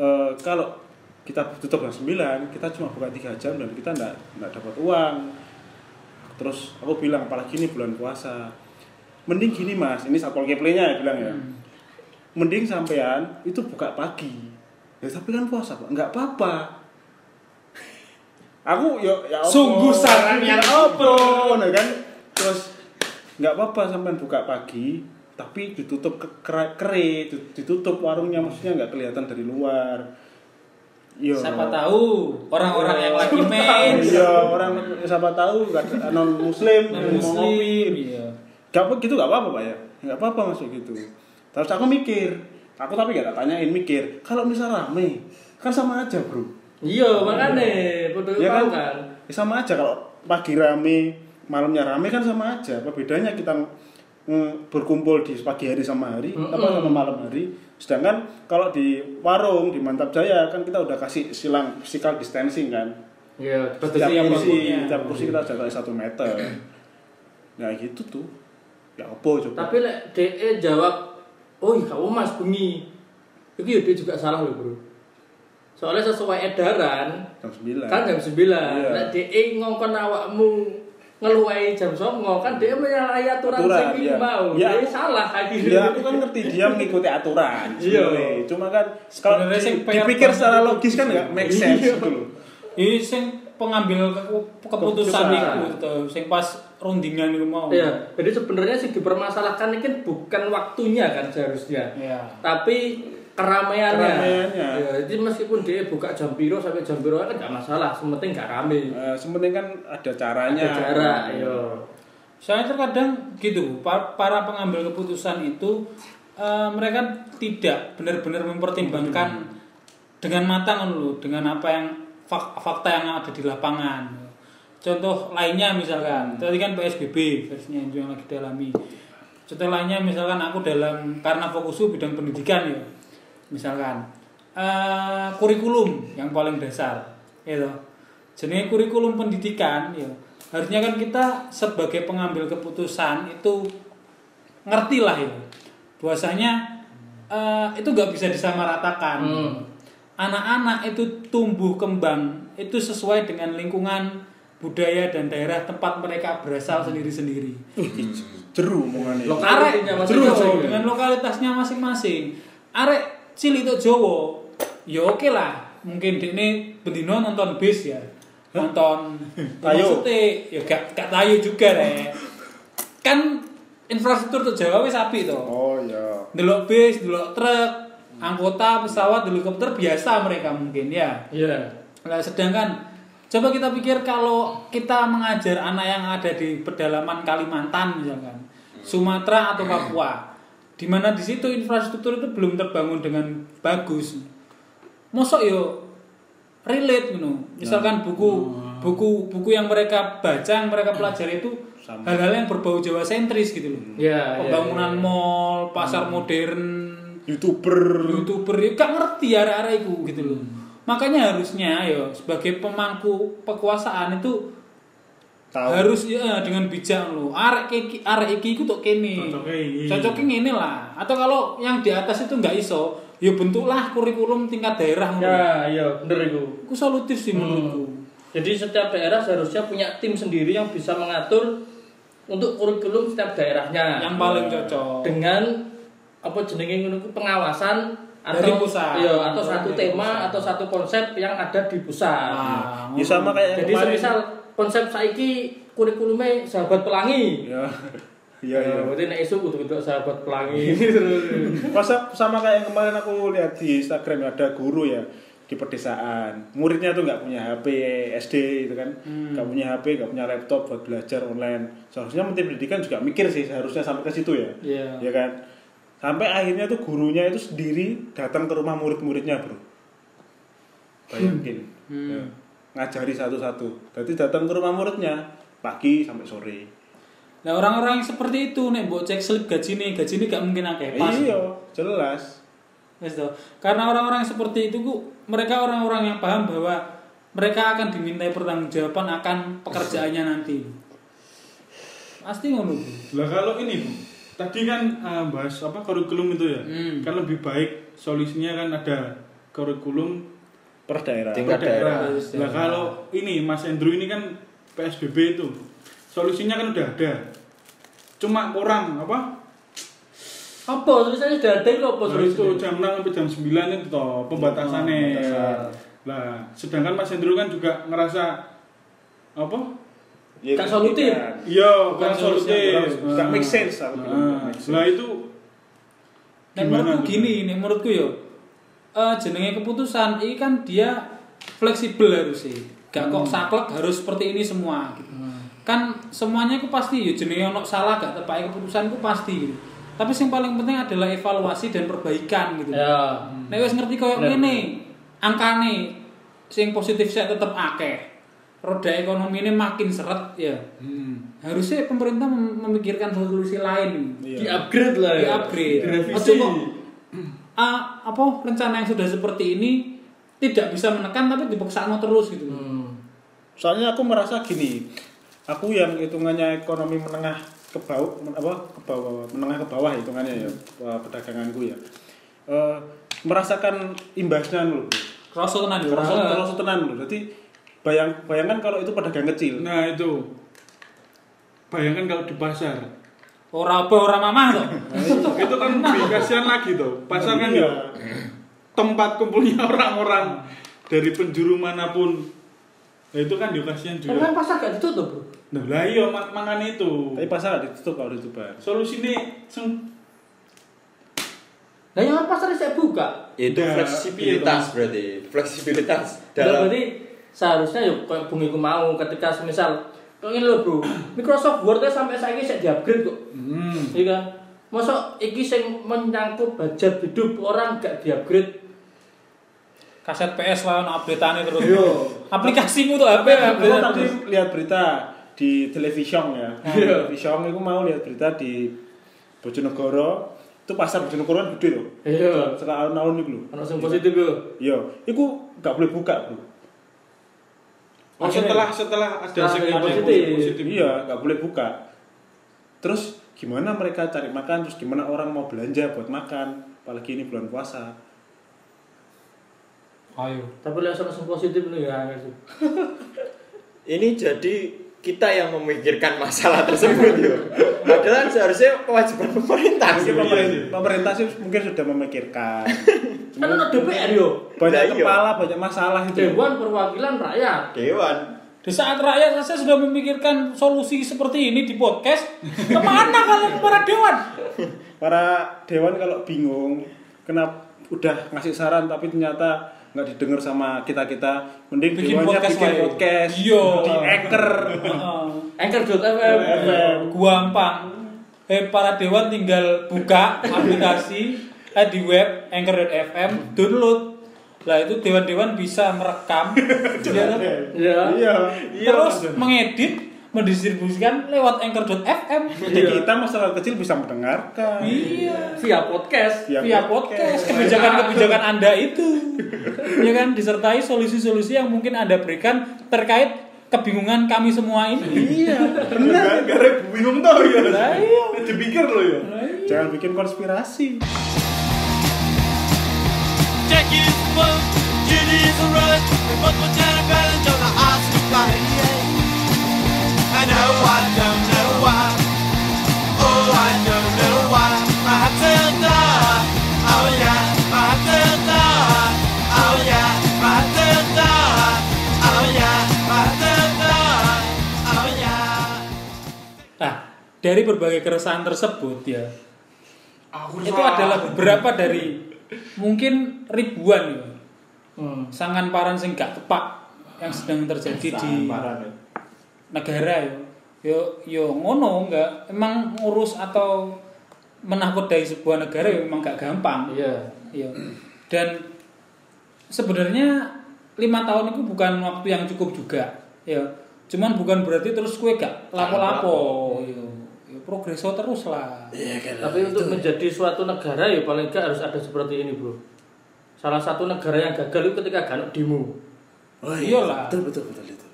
[SPEAKER 2] eh, kalau kita tutup jam 9 kita cuma buka 3 jam dan kita nggak nggak dapat uang terus aku bilang apalagi ini bulan puasa mending gini mas ini satpol pp-nya ya bilang ya
[SPEAKER 4] Hmm.
[SPEAKER 2] mending sampean itu buka pagi ya tapi kan puasa pak nggak apa-apa aku yo ya apa? "Ya
[SPEAKER 4] Sungguh saran yang
[SPEAKER 2] apa nah kan terus nggak apa-apa sampean buka pagi tapi ditutup ke kera- kere ditutup warungnya maksudnya nggak kelihatan dari luar Yo.
[SPEAKER 4] Siapa tahu orang-orang yang lagi main
[SPEAKER 2] Iya, orang siapa tahu nggak ada- non muslim,
[SPEAKER 4] yang
[SPEAKER 2] mau
[SPEAKER 4] muslim.
[SPEAKER 2] ngopi.
[SPEAKER 4] Iya.
[SPEAKER 2] Gak apa gitu gak apa-apa Pak ya. Gak apa-apa masuk gitu. Terus aku mikir, aku tapi gak tak tanyain mikir, kalau misal rame kan sama aja, Bro.
[SPEAKER 3] Iya, makane podo
[SPEAKER 2] Ya
[SPEAKER 3] kan.
[SPEAKER 2] kan? Ya sama aja kalau pagi rame, malamnya rame kan sama aja. Apa bedanya kita mm, berkumpul di pagi hari sama hari, apa sama malam hari. Sedangkan kalau di warung di Mantap Jaya kan kita udah kasih silang physical distancing kan.
[SPEAKER 3] Iya,
[SPEAKER 2] setiap
[SPEAKER 4] yang
[SPEAKER 2] kursi,
[SPEAKER 4] bangunnya.
[SPEAKER 2] setiap kursi kita jaraknya satu meter. Nah gitu tuh. Ya apa coba?
[SPEAKER 3] Tapi lek DE jawab, "Oh, kamu Mas bengi." Itu ya dia juga salah loh, Bro. Soalnya sesuai edaran
[SPEAKER 2] jam sembilan.
[SPEAKER 3] kan jam 9.
[SPEAKER 2] Iya.
[SPEAKER 3] Lek DE eh, ngongkon awakmu ngeluai jam 9 kan DE menyalahi aturan
[SPEAKER 2] Aturan,
[SPEAKER 3] sing iki
[SPEAKER 2] iya.
[SPEAKER 3] mau.
[SPEAKER 2] Iya.
[SPEAKER 3] DE salah akhirnya.
[SPEAKER 2] Ya aku kan ngerti dia mengikuti aturan.
[SPEAKER 3] Iya.
[SPEAKER 2] sebenarnya. Cuma kan kalau
[SPEAKER 4] Sebenarnya sing
[SPEAKER 2] di-
[SPEAKER 4] PR
[SPEAKER 2] dipikir
[SPEAKER 4] banget
[SPEAKER 2] secara
[SPEAKER 4] itu.
[SPEAKER 2] logis kan nggak make sense
[SPEAKER 4] Iya.
[SPEAKER 2] gitu loh.
[SPEAKER 4] Ini sing pengambil ke- keputusan
[SPEAKER 2] Keputusan.
[SPEAKER 4] itu tuh, sing pas rundingan itu mau.
[SPEAKER 3] Iya, jadi sebenarnya sih dipermasalahkan ini kan bukan waktunya kan seharusnya.
[SPEAKER 4] Iya.
[SPEAKER 3] Tapi keramaiannya.
[SPEAKER 2] Keramaiannya.
[SPEAKER 3] Ya, jadi meskipun dia buka jam piro sampai jam piro kan gak masalah, sementing gak rame.
[SPEAKER 2] Eh, sementing kan ada caranya.
[SPEAKER 3] Ada jarak, yo.
[SPEAKER 4] Soalnya terkadang gitu, pa- para pengambil keputusan itu eh, mereka tidak benar-benar mempertimbangkan dengan matang kan, lho, dengan apa yang fak- fakta yang ada di lapangan. Contoh lainnya misalkan, tadi kan PSBB versinya itu yang lagi dialami. Contoh lainnya misalkan aku dalam karena fokusku bidang pendidikan ya. Misalkan eh, kurikulum yang paling dasar gitu. Jadi kurikulum pendidikan ya harusnya kan kita sebagai pengambil keputusan itu ngerti lah ya bahwasanya eh, itu nggak bisa disamaratakan
[SPEAKER 3] Hmm.
[SPEAKER 4] anak-anak itu tumbuh kembang itu sesuai dengan lingkungan budaya dan daerah tempat mereka berasal sendiri-sendiri
[SPEAKER 2] Ih, Jeru omongannya.
[SPEAKER 3] Lo
[SPEAKER 4] arek
[SPEAKER 3] Lokalitasnya
[SPEAKER 4] jeru,
[SPEAKER 3] masing-masing.
[SPEAKER 4] dengan lokalitasnya masing-masing arek cilik itu Jawa ya oke lah mungkin ini bendino nonton bis ya nonton
[SPEAKER 2] Tayo.
[SPEAKER 4] maksudnya ya gak, gak tayo juga rek kan infrastruktur tuh Jawa wis apik to
[SPEAKER 2] Oh ya.
[SPEAKER 4] delok bis delok truk anggota pesawat helikopter biasa mereka mungkin ya
[SPEAKER 3] Iya.
[SPEAKER 4] Nah, sedangkan coba kita pikir kalau kita mengajar anak yang ada di pedalaman Kalimantan misalkan, Sumatera atau Papua, di mana di situ infrastruktur itu belum terbangun dengan bagus. Mosok yo relate ngono. Misalkan buku buku buku yang mereka baca, yang mereka pelajari itu
[SPEAKER 2] Sama.
[SPEAKER 4] hal-hal yang berbau Jawa sentris gitu loh.
[SPEAKER 3] Iya, iya,
[SPEAKER 4] Pembangunan
[SPEAKER 3] iya.
[SPEAKER 4] mall, pasar modern,
[SPEAKER 2] Youtuber.
[SPEAKER 4] youtuber ya gak ngerti arah-arah itu gitu loh makanya harusnya ya sebagai pemangku kekuasaan itu
[SPEAKER 2] Tahu.
[SPEAKER 4] harus ya dengan bijak lo arek iki arek iki iku tok kene
[SPEAKER 5] Cocoknya iki.
[SPEAKER 4] cocoknya ngene lah atau kalau yang di atas itu nggak iso ya bentuklah kurikulum tingkat
[SPEAKER 3] Ya,
[SPEAKER 4] daerah ngono
[SPEAKER 3] iya, bener itu.
[SPEAKER 2] Ya.
[SPEAKER 4] Iku solutif sih
[SPEAKER 2] Hmm.
[SPEAKER 3] Gitu.
[SPEAKER 4] menurutku
[SPEAKER 3] Jadi setiap daerah seharusnya punya tim sendiri yang bisa mengatur untuk kurikulum setiap daerahnya.
[SPEAKER 4] yang paling cocok
[SPEAKER 2] Ya.
[SPEAKER 3] dengan apa jenenge ngono ku pengawasan atau
[SPEAKER 4] Dari pusat.
[SPEAKER 3] iya, atau satu
[SPEAKER 4] Dari
[SPEAKER 3] tema
[SPEAKER 4] pusat.
[SPEAKER 3] atau satu konsep yang ada di pusat.
[SPEAKER 4] Nah,
[SPEAKER 2] Ya sama kayak yang
[SPEAKER 3] Jadi
[SPEAKER 2] kemarin.
[SPEAKER 3] semisal konsep saiki kurikulumnya sahabat pelangi.
[SPEAKER 2] Ya. Iya
[SPEAKER 3] Ya,
[SPEAKER 2] iya.
[SPEAKER 3] berarti nek esuk kudu-kudu sahabat
[SPEAKER 4] Iya,
[SPEAKER 3] pelangi.
[SPEAKER 2] Masa sama kayak yang kemarin aku lihat di Instagram ada guru ya. di pedesaan muridnya tuh nggak punya HP SD itu kan
[SPEAKER 4] Hmm.
[SPEAKER 2] nggak punya HP nggak punya laptop buat belajar online seharusnya menteri pendidikan juga mikir sih seharusnya sampai ke situ ya
[SPEAKER 4] Iya.
[SPEAKER 2] ya kan sampai akhirnya tuh gurunya itu sendiri datang ke rumah murid-muridnya bro bayangin
[SPEAKER 4] Hmm.
[SPEAKER 2] Ya. ngajari satu-satu jadi datang ke rumah muridnya pagi sampai sore
[SPEAKER 4] Nah orang-orang yang seperti itu nek mbok cek slip gaji nih, gaji nih gak mungkin akeh pas.
[SPEAKER 2] iya jelas
[SPEAKER 4] Wis toh. Karena orang-orang yang seperti itu ku mereka orang-orang yang paham bahwa mereka akan dimintai pertanggungjawaban akan pekerjaannya nanti. Pasti ngono. Bu.
[SPEAKER 5] Lah kalau ini Bu, tadi kan eh, bahas apa kurikulum itu ya.
[SPEAKER 4] Hmm.
[SPEAKER 5] Kan lebih baik solusinya kan ada kurikulum
[SPEAKER 2] per daerah
[SPEAKER 1] Tingkat
[SPEAKER 5] per daerah.
[SPEAKER 4] daerah.
[SPEAKER 2] ya.
[SPEAKER 5] Lah kalau ini Mas Andrew ini kan PSBB itu. Solusinya kan udah ada. Cuma orang apa?
[SPEAKER 3] Apa tulisannya sudah ada kok apa
[SPEAKER 5] Nah,
[SPEAKER 4] Iya.
[SPEAKER 5] itu
[SPEAKER 3] tulisannya?
[SPEAKER 5] jam 6 sampai jam 9 itu
[SPEAKER 2] Oh,
[SPEAKER 5] toh pembatasannya. Nah, sedangkan Mas Hendro kan juga ngerasa apa?
[SPEAKER 2] Ya,
[SPEAKER 3] Gak solutif.
[SPEAKER 5] Iya,
[SPEAKER 4] Bukan
[SPEAKER 5] kurang
[SPEAKER 4] solusi yang
[SPEAKER 5] solutif.
[SPEAKER 2] kurang- nggak make sense, aku bilang, nggak make sense.
[SPEAKER 5] Nah, itu
[SPEAKER 4] Nek
[SPEAKER 5] Gimana
[SPEAKER 4] menurutku
[SPEAKER 5] tuh?
[SPEAKER 4] gini, nek menurutku yo. Eh jenenge keputusan ini kan dia fleksibel harusnya. Gak kok
[SPEAKER 5] Hmm.
[SPEAKER 4] saklek harus seperti ini semua gitu. Kan semuanya ku pasti yo jenenge ono salah gak tepake keputusan ku pasti gitu. Tapi yang paling penting adalah evaluasi dan perbaikan gitu.
[SPEAKER 3] Ya.
[SPEAKER 4] Nek wis ngerti koyo ngene, angkane sing positif saya tetep akeh. Roda ekonomi ini makin seret ya.
[SPEAKER 3] Hmm.
[SPEAKER 4] Harusnya pemerintah mem- memikirkan solusi lain.
[SPEAKER 3] Di upgrade lah ya.
[SPEAKER 4] Iya. Di-upgrade.
[SPEAKER 5] Direvisi.
[SPEAKER 4] Ojo kok, ah, apa rencana yang sudah seperti ini tidak bisa menekan tapi dipaksa mau terus gitu.
[SPEAKER 3] Hmm.
[SPEAKER 2] soalnya aku merasa gini aku yang hitungannya ekonomi menengah ke bawah men- apa ke bawah menengah ke bawah hitungannya ya eh, perdaganganku ya Eh, merasakan imbasnya loh
[SPEAKER 4] Kroso tenan yo.
[SPEAKER 2] terasa
[SPEAKER 4] Kroso
[SPEAKER 2] terasa tenan loh jadi bayang bayangkan kalau itu pedagang kecil
[SPEAKER 5] nah itu. Bayangkan kalau di pasar.
[SPEAKER 4] Ora apa ora mamah to.
[SPEAKER 5] itu kan lebih kasihan lagi tuh. Pasar kan ya tempat kumpulnya orang-orang dari penjuru manapun. Nah, itu kan juga kasihan
[SPEAKER 3] Tapi kan
[SPEAKER 5] juga.
[SPEAKER 3] pasar gak ditutup, Bro.
[SPEAKER 5] Nah, lah iya mak- makan itu.
[SPEAKER 2] tapi pasar nggak ditutup kalau ditutup
[SPEAKER 5] Solusi ini sing
[SPEAKER 3] Lah yang pasar saya buka.
[SPEAKER 1] Itu
[SPEAKER 5] Udah,
[SPEAKER 1] fleksibilitas
[SPEAKER 5] iya,
[SPEAKER 1] berarti. Fleksibilitas
[SPEAKER 3] Dalam.
[SPEAKER 1] dalam
[SPEAKER 3] Berarti seharusnya yuk kayak bungiku mau ketika semisal kok ini loh bro Microsoft Word sampai saiki saya di upgrade kok
[SPEAKER 5] Hmm.
[SPEAKER 3] iya kan masa iki sing menyangkut budget hidup orang gak di upgrade
[SPEAKER 4] Kaset PS lah ono update-ane terus.
[SPEAKER 3] Iya.
[SPEAKER 2] Yo.
[SPEAKER 4] Aplikasimu tuh HP
[SPEAKER 2] Aku
[SPEAKER 4] update-an
[SPEAKER 2] tadi
[SPEAKER 4] terus.
[SPEAKER 2] lihat berita di televisi ya. Televisi aku mau lihat berita di Bojonegoro. Itu pasar Bojonegoro kan gede loh.
[SPEAKER 3] Iya.
[SPEAKER 2] Setelah alun-alun itu loh.
[SPEAKER 3] ono sing positif yo
[SPEAKER 2] Iya, iku gak boleh buka, Bro.
[SPEAKER 5] Oh, setelah setelah ada
[SPEAKER 3] Setelah
[SPEAKER 5] sing
[SPEAKER 3] ada
[SPEAKER 5] positif.
[SPEAKER 3] positif.
[SPEAKER 5] positif.
[SPEAKER 2] Iya, gak boleh buka. Terus gimana mereka cari makan? Terus gimana orang mau belanja buat makan? Apalagi ini bulan puasa.
[SPEAKER 4] Ayo.
[SPEAKER 3] tapi lek ono sing positif lho ya angel sih.
[SPEAKER 1] ini jadi kita yang memikirkan masalah tersebut yo. Padahal seharusnya kewajiban pemerintah.
[SPEAKER 2] Mungkin
[SPEAKER 5] iya
[SPEAKER 2] pemerintah,
[SPEAKER 5] sih.
[SPEAKER 2] pemerintah sih mungkin sudah memikirkan.
[SPEAKER 3] kan ono DPR yo
[SPEAKER 2] Banyak
[SPEAKER 1] Lah, iya.
[SPEAKER 2] kepala, banyak masalah
[SPEAKER 4] Iya,
[SPEAKER 2] itu.
[SPEAKER 3] Dewan Perwakilan Rakyat
[SPEAKER 1] Dewan.
[SPEAKER 4] Di saat rakyat saya sudah memikirkan solusi seperti ini di podcast, kemana kalian para dewan?
[SPEAKER 2] para dewan kalau bingung kenapa udah ngasih saran tapi ternyata nggak didengar sama kita kita mending
[SPEAKER 4] Bikin
[SPEAKER 2] dewannya
[SPEAKER 4] podcast
[SPEAKER 2] bikin
[SPEAKER 4] wae.
[SPEAKER 2] podcast
[SPEAKER 4] Iya.
[SPEAKER 2] di anchor
[SPEAKER 4] Heeh.
[SPEAKER 3] Anchor.fm
[SPEAKER 4] Gampang. Eh para dewan tinggal buka aplikasi eh, di web anchor.fm, download. Lah itu dewan-dewan bisa merekam, ya kan?
[SPEAKER 3] ya
[SPEAKER 2] iya
[SPEAKER 4] terus mengedit, mendistribusikan lewat anchor.fm.
[SPEAKER 2] jadi kita masalah kecil bisa mendengarkan
[SPEAKER 4] Iya.
[SPEAKER 3] via podcast
[SPEAKER 2] Via
[SPEAKER 4] via podcast
[SPEAKER 2] podcast.
[SPEAKER 4] kebijakan-kebijakan Anda itu ya kan disertai solusi-solusi yang mungkin Anda berikan terkait kebingungan kami semua ini
[SPEAKER 2] iya
[SPEAKER 5] Gara- gara bingung tau ya.
[SPEAKER 4] Lah, iya.
[SPEAKER 5] Dipikir lo ya.
[SPEAKER 2] jangan bikin konspirasi
[SPEAKER 4] nah dari berbagai keresahan tersebut ya
[SPEAKER 5] Aku Ah,
[SPEAKER 4] itu adalah beberapa dari mungkin ribuan ya. eh, sangan paran sing gak kepak yang sedang terjadi di negara yo yo yo ngono enggak emang ngurus atau menakutkan sebuah negara yo memang gak gampang
[SPEAKER 3] Iya.
[SPEAKER 4] Iya. Dan sebenarnya lima tahun itu bukan waktu yang cukup juga. Ya. Cuman bukan berarti terus kue gak lapo-lapo. Iya. Ya, progreso terus lah.
[SPEAKER 3] Iya. Tapi untuk menjadi suatu negara ya paling nggak harus ada seperti ini, Bro. Salah satu negara yang gagal itu ketika gak ada demo.
[SPEAKER 6] Oh,
[SPEAKER 4] Iyalah.
[SPEAKER 6] Betul betul betul itu.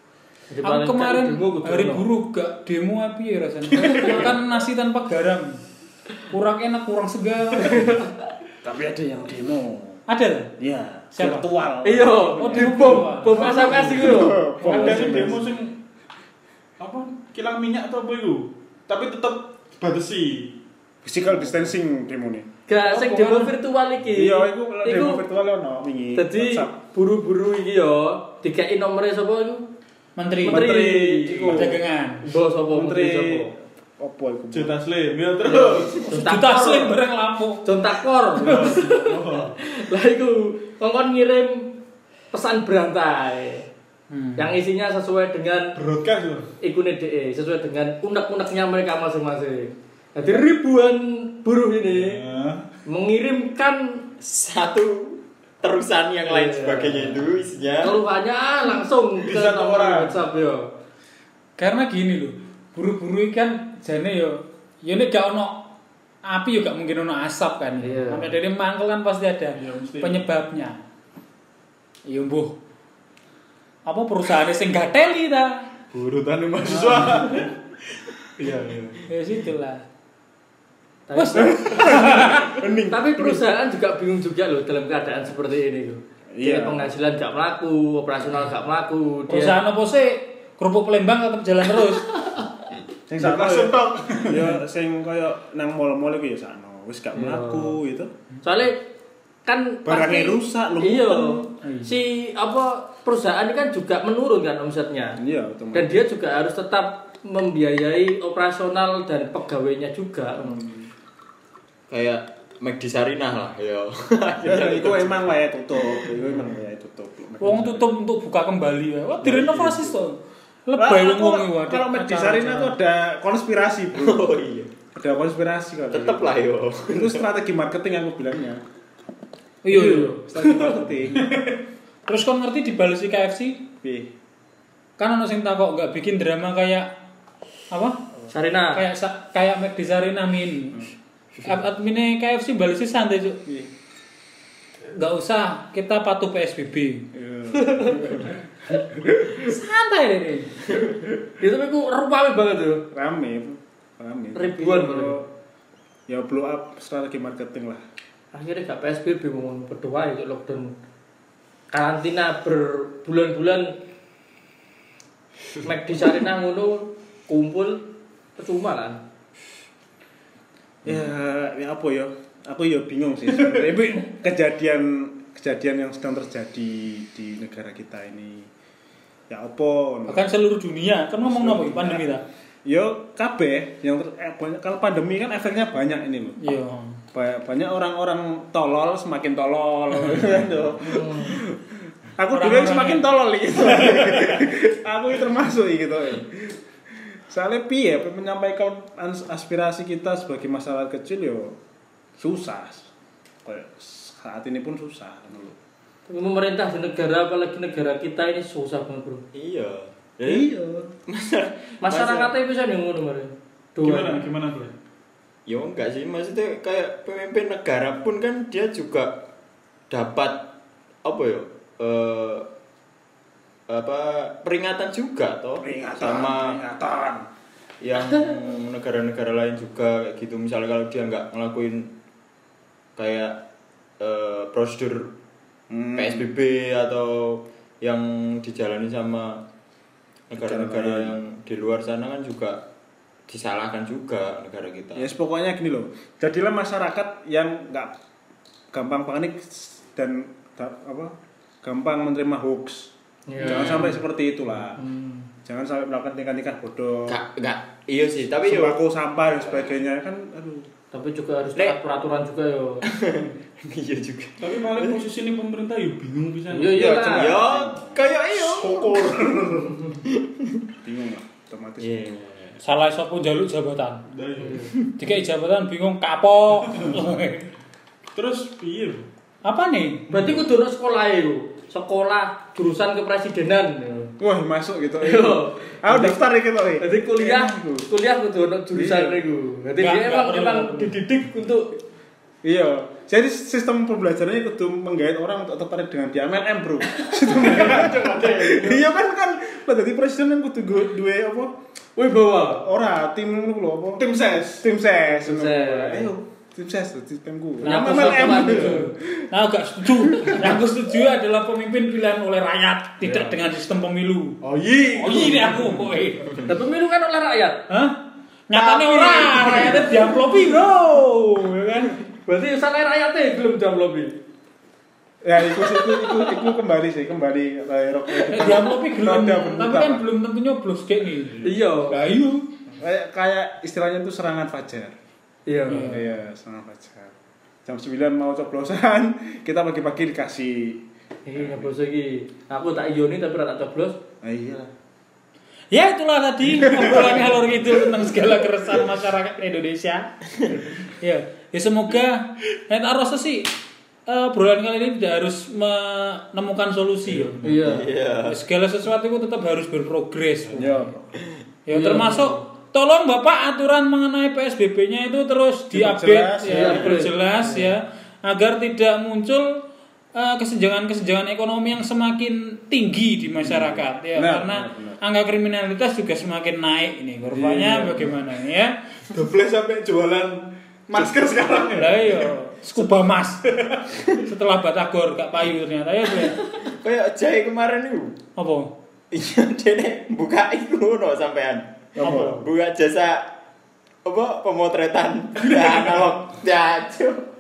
[SPEAKER 3] Jadi paling
[SPEAKER 4] Iya Aku
[SPEAKER 3] nggak
[SPEAKER 4] kemarin
[SPEAKER 3] demo kudu
[SPEAKER 4] hari
[SPEAKER 3] ono.
[SPEAKER 4] buruh gak demo apa ya rasanya. Makan nasi tanpa garam. Kurang enak, kurang segar.
[SPEAKER 6] Tapi ada yang demo.
[SPEAKER 4] Ada lah.
[SPEAKER 1] Iya.
[SPEAKER 6] Ya,
[SPEAKER 4] Siapa?
[SPEAKER 6] virtual.
[SPEAKER 3] Iya,
[SPEAKER 4] Oh,
[SPEAKER 3] di
[SPEAKER 4] demo.
[SPEAKER 3] bom, bom asap kasih itu.
[SPEAKER 5] Ada sih demo sing apa kilang minyak atau apa itu. Tapi tetap batasi.
[SPEAKER 2] Physical distancing demo nih.
[SPEAKER 3] Gak sing demo virtual iki.
[SPEAKER 2] Iya, itu kalau
[SPEAKER 3] Iku
[SPEAKER 2] demo virtual ono wingi.
[SPEAKER 3] Jadi
[SPEAKER 2] WhatsApp.
[SPEAKER 3] buru-buru iki ya dikeki nomere sapa iku?
[SPEAKER 4] Menteri.
[SPEAKER 3] Menteri.
[SPEAKER 4] Iku. Perdagangan.
[SPEAKER 3] Mbok sapa menteri
[SPEAKER 5] Menteri.
[SPEAKER 3] sapa?
[SPEAKER 2] opo iku?
[SPEAKER 5] Juta slim ya terus.
[SPEAKER 4] Juta slim bareng lapo.
[SPEAKER 3] John Takor. Lah iku kongkon ngirim pesan berantai. Yang isinya sesuai dengan
[SPEAKER 5] Broadcast loh.
[SPEAKER 3] ikune DE, sesuai dengan unek-uneknya mereka masing-masing. Jadi ribuan buruh ini
[SPEAKER 5] Ya.
[SPEAKER 3] mengirimkan
[SPEAKER 1] satu terusan yang lain
[SPEAKER 3] Iya.
[SPEAKER 1] sebagainya itu isinya
[SPEAKER 3] keluhannya ah, langsung
[SPEAKER 5] Di
[SPEAKER 3] ke
[SPEAKER 5] satu
[SPEAKER 3] nomor
[SPEAKER 5] orang.
[SPEAKER 3] WhatsApp yo.
[SPEAKER 4] karena gini loh buru-buru ini kan jane yo yo ini gak ono api yo gak mungkin ono asap kan
[SPEAKER 3] Iya.
[SPEAKER 4] sampai dari mangkel kan pasti ada
[SPEAKER 5] Iya, mesti.
[SPEAKER 4] penyebabnya iya mbuh apa perusahaan sing gak teli ta Nah.
[SPEAKER 5] Urutan mahasiswa. Iya iya.
[SPEAKER 4] ya situlah
[SPEAKER 3] Tapi-
[SPEAKER 4] Wes.
[SPEAKER 3] Tapi perusahaan juga bingung juga loh dalam keadaan seperti ini loh. Dia
[SPEAKER 2] Iya.
[SPEAKER 3] penghasilan gak melaku, operasional gak melaku, dia
[SPEAKER 4] perusahaan apa sih kerupuk Palembang tetap jalan terus
[SPEAKER 2] Sing
[SPEAKER 5] Juta
[SPEAKER 2] sama ya.
[SPEAKER 5] slim tok.
[SPEAKER 2] Ya sing koyo nang mall-mall iku ya sakno. Wis gak mlaku gitu.
[SPEAKER 3] soalnya kan pasti-
[SPEAKER 2] Barangnya rusak, lumpuh.
[SPEAKER 3] iya si apa perusahaan ini kan juga menurun kan omsetnya
[SPEAKER 2] Iya, betul.
[SPEAKER 3] dan dia juga harus tetap membiayai operasional dan pegawainya juga
[SPEAKER 1] kayak Mac di Sarinah lah ya
[SPEAKER 2] Ya, iku emang wae tutup, iku emang wae tutup.
[SPEAKER 4] wong tutup untuk buka kembali ya
[SPEAKER 5] Nah,
[SPEAKER 4] wah direnovasi
[SPEAKER 5] iya.
[SPEAKER 4] tuh
[SPEAKER 2] Wah,
[SPEAKER 4] lebay wong
[SPEAKER 2] aku-
[SPEAKER 4] wong iku, aduh,
[SPEAKER 2] Kalau Med
[SPEAKER 4] acara-acara.
[SPEAKER 2] Sarina tuh ada konspirasi, Bro.
[SPEAKER 1] oh iya
[SPEAKER 2] Ada konspirasi kalau.
[SPEAKER 1] tetep lah yo
[SPEAKER 2] Itu strategi marketing aku bilangnya.
[SPEAKER 4] iya iya
[SPEAKER 2] Strategi marketing.
[SPEAKER 4] terus kon ngerti dibalik si KFC
[SPEAKER 2] Piye?
[SPEAKER 4] kan ono sing takok nggak bikin drama kayak apa
[SPEAKER 3] Sarina
[SPEAKER 4] kayak sa- kayak Mac Desarina min Ad- adminnya KFC balik sih santai cuk
[SPEAKER 2] Piye?
[SPEAKER 4] nggak usah kita patuh PSBB
[SPEAKER 2] Iya.
[SPEAKER 4] santai ini
[SPEAKER 3] itu aku rupanya banget tuh
[SPEAKER 2] Rame, rame.
[SPEAKER 3] Ribuan,
[SPEAKER 2] Tapi
[SPEAKER 3] Bro.
[SPEAKER 2] Ya blow up strategi marketing lah.
[SPEAKER 3] akhirnya gak PSBB ngomong berdoa itu lockdown karantina berbulan-bulan Mac di Sarina ngono kumpul percuma lah
[SPEAKER 2] Ya, ya apa ya? Aku ya bingung sih. sebenarnya. Tapi kejadian kejadian yang sedang terjadi di negara kita ini ya apa? ngono.
[SPEAKER 4] bahkan seluruh dunia kan ngomong apa pandemi ta
[SPEAKER 2] Yo Ya, kabeh yang ter- eh, banyak kalau pandemi kan efeknya banyak ini loh.
[SPEAKER 4] iya
[SPEAKER 2] Ba- banyak orang-orang tolol semakin tolol
[SPEAKER 4] Hmm.
[SPEAKER 2] Aduh. aku dulu yang
[SPEAKER 4] Orang-orang
[SPEAKER 2] semakin
[SPEAKER 4] yang-
[SPEAKER 2] tolol gitu aku termasuk gitu soalnya piye menyampaikan ans- aspirasi kita sebagai masyarakat kecil yo susah Kayak saat ini pun susah dulu
[SPEAKER 3] Tapi pemerintah di negara apalagi negara kita ini susah banget bro
[SPEAKER 1] iya
[SPEAKER 2] iya
[SPEAKER 3] masyarakatnya bisa nih ngono mari
[SPEAKER 5] Gimana
[SPEAKER 3] doa
[SPEAKER 5] gimana bro?
[SPEAKER 1] ya enggak sih maksudnya kayak pemimpin negara pun kan dia juga dapat apa ya eh, apa peringatan juga toh
[SPEAKER 2] peringatan
[SPEAKER 1] sama
[SPEAKER 2] peringatan
[SPEAKER 1] yang negara-negara lain juga kayak gitu misalnya kalau dia nggak ngelakuin kayak eh, prosedur
[SPEAKER 2] Hmm.
[SPEAKER 1] PSBB atau yang dijalani sama negara-negara yang di luar sana kan juga disalahkan juga negara kita
[SPEAKER 2] Ya yes, pokoknya gini loh. Jadilah masyarakat yang nggak gampang panik dan da- apa? gampang menerima hoax.
[SPEAKER 3] Iya.
[SPEAKER 2] Jangan sampai seperti itulah.
[SPEAKER 3] Hmm.
[SPEAKER 2] Jangan sampai melakukan tingkah-tingkah bodoh.
[SPEAKER 1] nggak nggak iya sih tapi yo
[SPEAKER 2] Sembako sampah dan sebagainya kan aduh.
[SPEAKER 3] tapi juga harus
[SPEAKER 1] Nek.
[SPEAKER 3] taat peraturan juga yo
[SPEAKER 1] iya juga
[SPEAKER 5] Tapi malah posisi ini pemerintah ya bingung bisa.
[SPEAKER 3] Iya, iya.
[SPEAKER 1] jeneng- yo kayak iyo
[SPEAKER 2] syukur bingung lah otomatis
[SPEAKER 1] Iya.
[SPEAKER 4] Salah sapa njaluk jabatan. Dikai jabatan bingung kapok.
[SPEAKER 5] Terus piye? Bu?
[SPEAKER 4] Apa nih?
[SPEAKER 3] berarti kudu ono sekolah yo sekolah jurusan kepresidenan yo.
[SPEAKER 2] wah masuk gitu
[SPEAKER 3] Yo.
[SPEAKER 2] aku daftar iki tok iki.
[SPEAKER 3] Jadi kuliah,
[SPEAKER 2] Enak, Bu.
[SPEAKER 3] kuliah kudu ono jurusan niku. Jadi
[SPEAKER 4] Iya. Nggak,
[SPEAKER 3] dia
[SPEAKER 4] nggak
[SPEAKER 3] emang
[SPEAKER 4] perlu.
[SPEAKER 3] emang dididik untuk
[SPEAKER 2] iya jadi sistem pembelajarannya kudu menggait orang untuk tertarik dengan BMLM bro iya kan kan lah jadi presiden kan kudu gue dua apa
[SPEAKER 3] wibawa.
[SPEAKER 2] ora tim lu lho apa tim ses tim ses
[SPEAKER 3] Tim
[SPEAKER 2] ngono.
[SPEAKER 3] ses.
[SPEAKER 2] ayo tim ses tuh, tim gue
[SPEAKER 4] Nah, aku
[SPEAKER 2] MLM
[SPEAKER 4] setuju. Nah, aku gak setuju. Yang aku setuju adalah pemimpin pilihan oleh rakyat, tidak dengan sistem pemilu.
[SPEAKER 2] oh
[SPEAKER 4] Iya.
[SPEAKER 2] iya
[SPEAKER 4] Oh ini aku kowe.
[SPEAKER 3] Tapi pemilu kan oleh rakyat.
[SPEAKER 4] Hah? Nyatane ora, rakyatnya diamplopi, Bro. Ya kan?
[SPEAKER 3] Berarti usaha rakyatnya belum jam lebih.
[SPEAKER 2] ya itu sih itu, itu, itu kembali sih kembali kayak rok
[SPEAKER 4] Eh, Diamplopi gelem,
[SPEAKER 2] Nada
[SPEAKER 4] tapi
[SPEAKER 2] berputar.
[SPEAKER 4] kan belum tentu nyoblos dek nih.
[SPEAKER 3] Iya.
[SPEAKER 4] Lah iya.
[SPEAKER 2] kayak kayak istilahnya tuh serangan fajar
[SPEAKER 3] Iya.
[SPEAKER 2] iya serangan fajar jam 9 mau coblosan kita pagi-pagi dikasih
[SPEAKER 3] Ini Eh, nyoblos iki. Aku tak iyoni tapi ora tak coblos.
[SPEAKER 2] nah, iyalah
[SPEAKER 4] Ya itulah tadi obrolan halor gitu tentang segala keresahan masyarakat Indonesia. ya, ya semoga Net Arrosa sih eh, obrolan kali ini tidak harus menemukan solusi ya.
[SPEAKER 3] Iya.
[SPEAKER 1] iya
[SPEAKER 4] Segala sesuatu itu tetap harus berprogres.
[SPEAKER 2] iya
[SPEAKER 4] Ya termasuk tolong Bapak aturan mengenai PSBB-nya itu terus
[SPEAKER 2] Diperjelas, iya.
[SPEAKER 4] diupdate ya,
[SPEAKER 3] ya.
[SPEAKER 4] diperjelas ya agar tidak muncul eh, kesenjangan-kesenjangan ekonomi yang semakin tinggi di masyarakat ya
[SPEAKER 2] Benar,
[SPEAKER 4] karena
[SPEAKER 2] benar, Iya. benar.
[SPEAKER 4] angka kriminalitas juga semakin naik ini kurvanya bagaimana ya
[SPEAKER 5] Doble sampai jualan masker sekarang ya.
[SPEAKER 4] lah yo scuba mas setelah batagor gak payu ternyata ya Bre.
[SPEAKER 1] kayak jai kemarin itu
[SPEAKER 4] apa
[SPEAKER 1] iya dene buka iku no sampean
[SPEAKER 2] apa
[SPEAKER 1] buka jasa apa pemotretan ya analog jacu